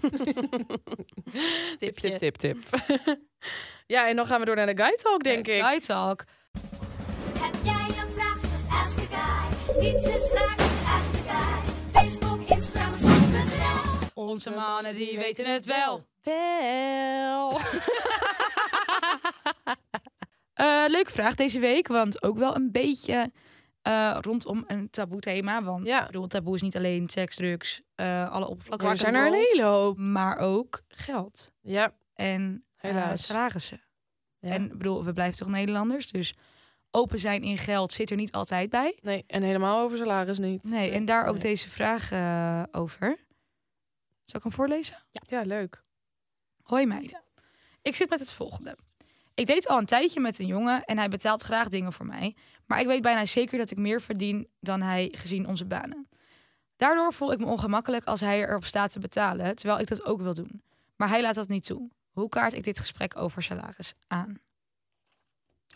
A: zeker.
D: tip, tip, tip, tip. ja, en dan gaan we door naar de guide talk, denk ik.
A: Guy Talk.
F: Heb jij een vraag? Just ask a guy. Niets is raar, just ask a guy. Facebook, Instagram, Snap.nl.
A: Onze mannen, die weten het wel.
D: Wel.
A: Eh, leuke vraag deze week, want ook wel een beetje eh, rondom een taboe thema. Want
D: Ja.
A: ik bedoel, taboe is niet alleen seks, drugs, eh, alle oppervlakken.
D: er zijn er een hele hoop.
A: Maar ook geld
D: Ja,
A: en eh,
D: Helaas.
A: salarissen.
D: Ja.
A: En ik bedoel, we blijven toch Nederlanders, dus open zijn in geld zit er niet altijd bij.
D: nee, en helemaal over salaris niet.
A: Nee, en daar ook
D: nee.
A: deze vraag eh, over. Zal ik hem voorlezen?
D: Ja, leuk.
A: Hoi meiden. Ik zit met het volgende. Ik deed al een tijdje met een jongen en hij betaalt graag dingen voor mij. Maar ik weet bijna zeker dat ik meer verdien dan hij gezien onze banen. Daardoor voel ik me ongemakkelijk als hij erop staat te betalen, terwijl ik dat ook wil doen. Maar hij laat dat niet toe. Hoe kaart ik dit gesprek over salaris aan?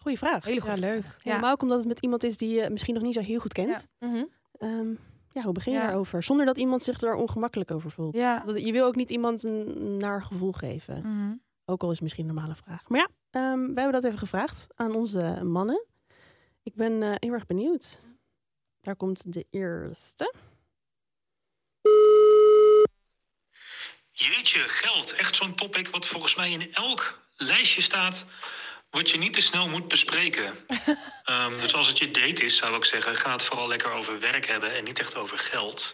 B: Goeie vraag.
A: Hele goede
D: ja,
A: vraag.
D: leuk.
A: Ja.
B: Helemaal ook omdat het met iemand is die je misschien nog niet zo heel goed kent.
A: Ja.
D: Mhm.
B: Ehm, ja, hoe begin je
A: Ja.
B: daarover? Zonder dat iemand zich daar ongemakkelijk over voelt.
A: Ja.
B: Dat- Je wil ook niet iemand een naar gevoel geven.
A: Mhm.
B: Ook al is het misschien een normale vraag. Maar ja, ehm, wij hebben dat even gevraagd aan onze mannen. Ik ben eh, heel erg benieuwd. Daar komt de eerste.
G: Jeetje, geld. Echt zo'n topic wat volgens mij in elk lijstje staat. Wat je niet te snel moet bespreken. Ehm, dus als het je date is, zou ik zeggen, ga het vooral lekker over werk hebben en niet echt over geld.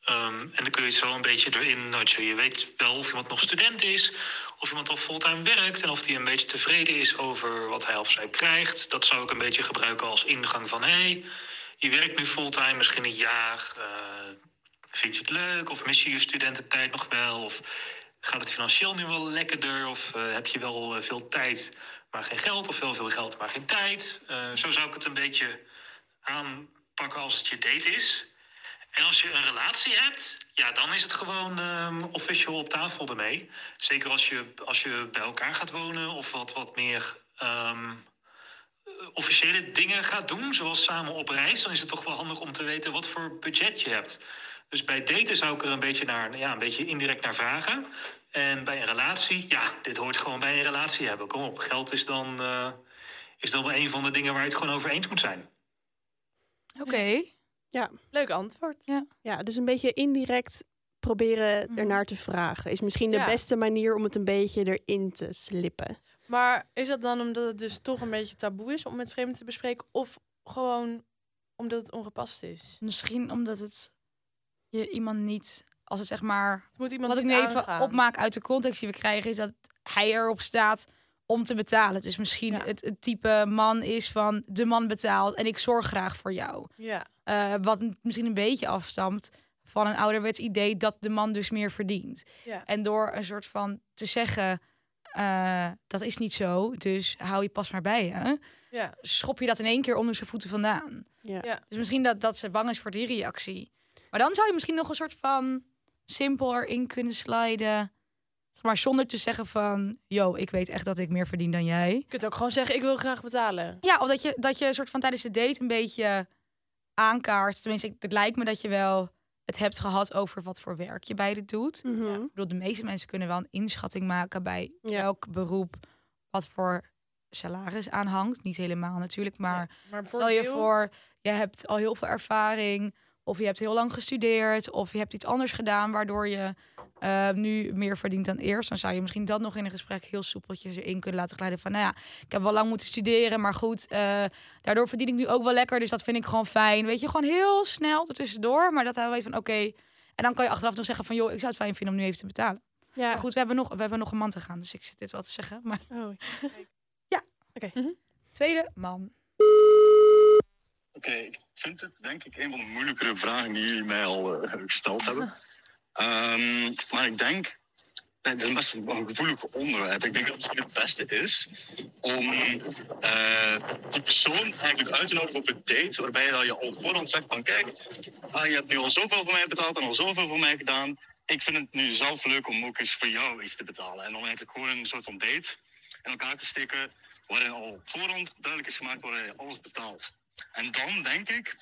G: Ehm, en dan kun je het zo een beetje erin nudgen. Je weet wel of iemand nog student is, of iemand al fulltime werkt en of die een beetje tevreden is over wat hij of zij krijgt. Dat zou ik een beetje gebruiken als ingang van hé, hey, je werkt nu fulltime, misschien een jaar. eh, Vind je het leuk? Of mis je je studententijd nog wel? Of gaat het financieel nu wel lekkerder? Of eh, heb je wel eh, veel tijd, maar geen geld? Of wel veel geld, maar geen tijd? Eh, zo zou ik het een beetje aanpakken als het je date is. En als je een relatie hebt, ja, dan is het gewoon ehm, official op tafel ermee. Zeker als je, als je bij elkaar gaat wonen of wat, wat meer ehm, officiële dingen gaat doen, zoals samen op reis, dan is het toch wel handig om te weten wat voor budget je hebt. Dus bij daten zou ik er een beetje, naar, ja, een beetje indirect naar vragen. En bij een relatie, ja, dit hoort gewoon bij een relatie hebben. Kom op, geld is dan, eh, is dan wel een van de dingen waar je het gewoon over eens moet zijn.
A: Oké.
D: Leuk antwoord.
B: Ja, dus een beetje indirect proberen
A: Mhm.
B: ernaar te vragen. Is misschien de
D: Ja.
B: beste manier om het een beetje erin te slippen.
D: Maar is dat dan omdat het dus toch een beetje taboe is om met vreemden te bespreken? Of gewoon omdat het ongepast is?
A: Misschien omdat het je iemand niet, als het zeg maar
D: Het moet iemand
A: Wat ik
D: niet
A: nu even
D: aangaan.
A: opmaak uit de context die we krijgen, is dat hij erop staat om te betalen. Dus misschien
D: Ja.
A: het, het type man is van de man betaalt en ik zorg graag voor jou.
D: Ja.
A: Eh, wat n- misschien een beetje afstamt van een ouderwets idee dat de man dus meer verdient.
D: Ja.
A: En door een soort van te zeggen, eh, dat is niet zo, dus hou je pas maar bij je,
D: Ja.
A: schop je dat in één keer onder zijn voeten vandaan.
B: Ja.
D: Ja.
A: Dus misschien dat, dat ze bang is voor die reactie. Maar dan zou je misschien nog een soort van simpeler in kunnen sliden. Zeg maar zonder te zeggen van... Yo, ik weet echt dat ik meer verdien dan jij.
D: Je kunt ook gewoon zeggen, ik wil graag betalen.
A: Ja, of dat je, dat je een soort van tijdens de date een beetje aankaart. Tenminste, ik- het lijkt me dat je wel het hebt gehad over wat voor werk je beide doet.
B: Mhm.
A: Ik bedoel, de meeste mensen kunnen wel een inschatting maken bij
B: Ja.
A: welk beroep wat voor salaris aanhangt. Niet helemaal natuurlijk, maar
D: Maar
A: Stel je
D: veel-
A: voor, je hebt al heel veel ervaring. Of je hebt heel lang gestudeerd. Of je hebt iets anders gedaan waardoor je eh, nu meer verdient dan eerst. Dan zou je misschien dat nog in een gesprek heel soepeltjes in kunnen laten glijden. Van nou ja, ik heb wel lang moeten studeren. Maar goed, eh, daardoor verdien ik nu ook wel lekker. Dus dat vind ik gewoon fijn. Weet je, gewoon heel snel ertussendoor. Maar dat hij weet van oké. En dan kan je achteraf nog zeggen van joh, ik zou het fijn vinden om nu even te betalen.
B: Ja,
A: Maar goed, we hebben, nog, we hebben nog een man te gaan, dus ik zit dit wel te zeggen. Maar Mhm.
B: Oh.
A: tweede man.
H: Oké, ik vind het denk ik een van de moeilijkere vragen die jullie mij al eh, gesteld hebben. Ehm, maar ik denk, het is best een gevoelig onderwerp. Ik denk dat het het beste is om eh, die persoon eigenlijk uit te nodigen op een date waarbij je dan je al voorhand zegt van kijk, ah, je hebt nu al zoveel voor mij betaald en al zoveel voor mij gedaan. Ik vind het nu zelf leuk om ook eens voor jou iets te betalen. En dan eigenlijk gewoon een soort van date in elkaar te steken waarin al op voorhand duidelijk is gemaakt waarin je alles betaalt. En dan denk ik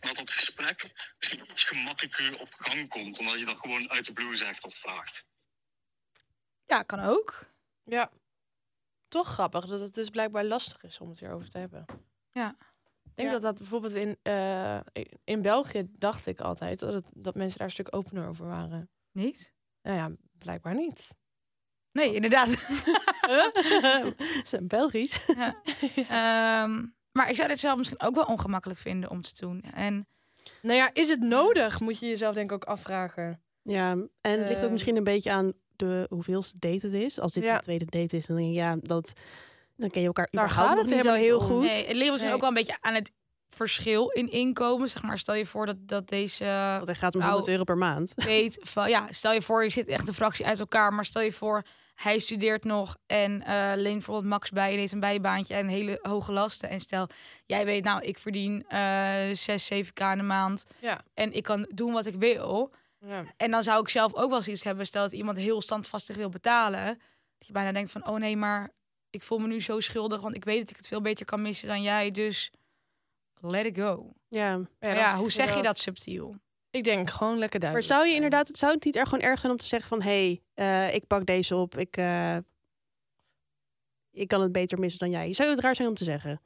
H: dat dat gesprek misschien iets gemakkelijker op gang komt, omdat je dat gewoon uit de blue zegt of vraagt.
A: Ja, kan ook.
D: Ja. Toch grappig dat het dus blijkbaar lastig is om het hierover te hebben.
A: Ja.
D: Ik denk
B: Ja.
D: dat dat bijvoorbeeld in, eh, in België dacht ik altijd dat, het- dat mensen daar een stuk opener over waren.
A: Niet?
D: Nou ja, blijkbaar niet.
A: Nee, inderdaad.
D: Zijn Belgisch.
A: Ehm, maar ik zou dit zelf misschien ook wel ongemakkelijk vinden om te doen. En
D: Nou ja, is het nodig? Moet je jezelf denk ik ook afvragen.
B: ja, en het ligt ook
D: Eh.
B: misschien een beetje aan de hoeveelste date het is. Als dit
D: Ja.
B: de tweede date is, dan denk je, ja, dat, dan ken je elkaar
D: Daar
B: überhaupt
D: gaat
B: nog
D: het
B: niet zo
D: helemaal
B: heel
D: niet om.
B: goed.
A: nee, het ligt misschien
D: Nee.
A: ook wel een beetje aan het verschil in inkomen. Zeg maar, stel je voor dat, dat deze
B: Want hij gaat om
A: Nou,
B: 100 euro per maand.
A: weet van ja, stel je voor, je zit echt een fractie uit elkaar, maar stel je voor, hij studeert nog en eh leent bijvoorbeeld Max bij en heeft een bijbaantje en hele hoge lasten. En stel, jij weet, nou, ik verdien eh 6, 7k in de maand
D: Ja.
A: en ik kan doen wat ik wil.
D: Ja.
A: En dan zou ik zelf ook wel zoiets hebben, stel dat iemand heel standvastig wil betalen, dat je bijna denkt van, oh nee, maar ik voel me nu zo schuldig, want ik weet dat ik het veel beter kan missen dan jij, dus let it go.
B: Ja.
A: Ja,
D: dan
A: ja hoe zeg je
D: dat?
A: dat subtiel?
D: Ik denk gewoon lekker
B: Maar
D: duidelijk.
B: zou je
D: zijn.
B: inderdaad, het zou het niet erg gewoon erg zijn om te zeggen van, hé, hey, eh, ik pak deze op, ik, eh, ik kan het beter missen dan jij. Zou het raar zijn om te zeggen?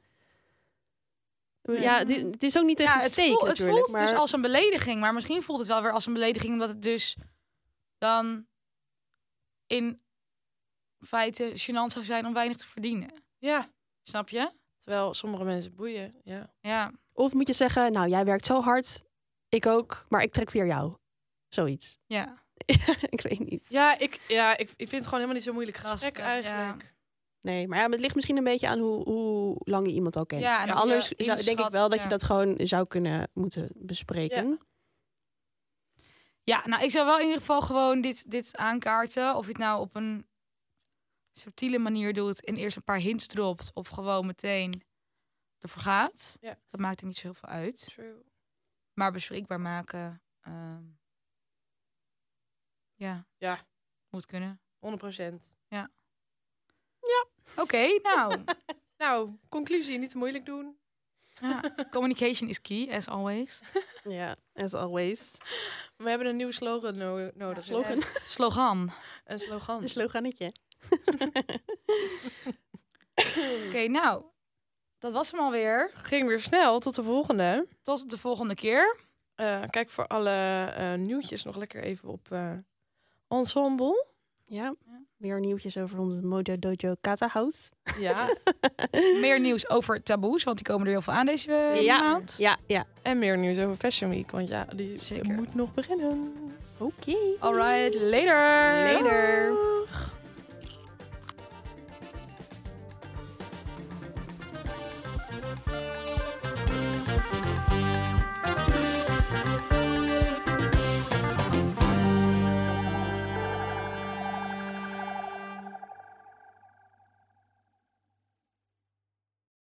B: Ja, het, het is ook niet echt
A: Ja,
B: een
A: het,
B: steek
A: voelt, het
B: natuurlijk.
A: voelt
B: maar...
A: dus als een belediging. Maar misschien voelt het wel weer als een belediging. Omdat het dus dan in feite gênant zou zijn om weinig te verdienen.
D: Ja.
A: Snap je?
D: Terwijl sommige mensen boeien. Ja.
A: Ja.
B: Of moet je zeggen, nou, jij werkt zo hard, ik ook, maar ik trek weer jou. Zoiets.
A: Ja.
B: ik weet niet.
D: Ja, ik, ja ik, ik vind het gewoon helemaal niet zo moeilijk gesprek
A: Lastig,
D: eigenlijk.
B: Nee, maar ja, maar het ligt misschien een beetje aan hoe, hoe lang je iemand al kent.
A: Ja, en hoe
B: Maar
A: je
B: anders zou, denk ik
A: inschat,
B: wel dat
A: ja.
B: je dat gewoon zou kunnen moeten bespreken.
A: Ja, nou, ik zou wel in ieder geval gewoon dit, dit aankaarten. Of je het nou op een subtiele manier doet en eerst een paar hints dropt. Of gewoon meteen ervoor gaat.
D: Ja.
A: Dat maakt er niet zo heel veel uit.
D: True.
A: Maar bespreekbaar maken. ehm, ja.
D: Ja.
A: Moet kunnen.
D: 100 procent.
A: Oké, nou.
D: Nou, conclusie, niet te moeilijk doen.
A: ja, communication is key, as always.
B: Ja, as always.
D: We hebben een nieuwe slogan no- nodig.
B: slogan.
D: Mm.
A: Slogan.
D: Een slogan.
B: Een sloganetje.
A: Oké, nou. Dat was hem alweer.
D: Ging weer snel, tot de volgende.
A: Tot de volgende keer.
D: Eh, kijk voor alle eh, nieuwtjes nog lekker even op eh, Ensemble.
B: Ja, weer nieuwtjes over onze Mojo Dojo Kata House.
D: Ja.
A: Meer nieuws over taboes, want die komen er heel veel aan deze eh,
B: Ja.
A: maand.
B: Ja, ja.
D: en meer nieuws over Fashion Week, want ja, die
A: Zeker.
D: moet nog beginnen.
B: Oké.
A: Alright, later.
B: Later.
D: Doeg.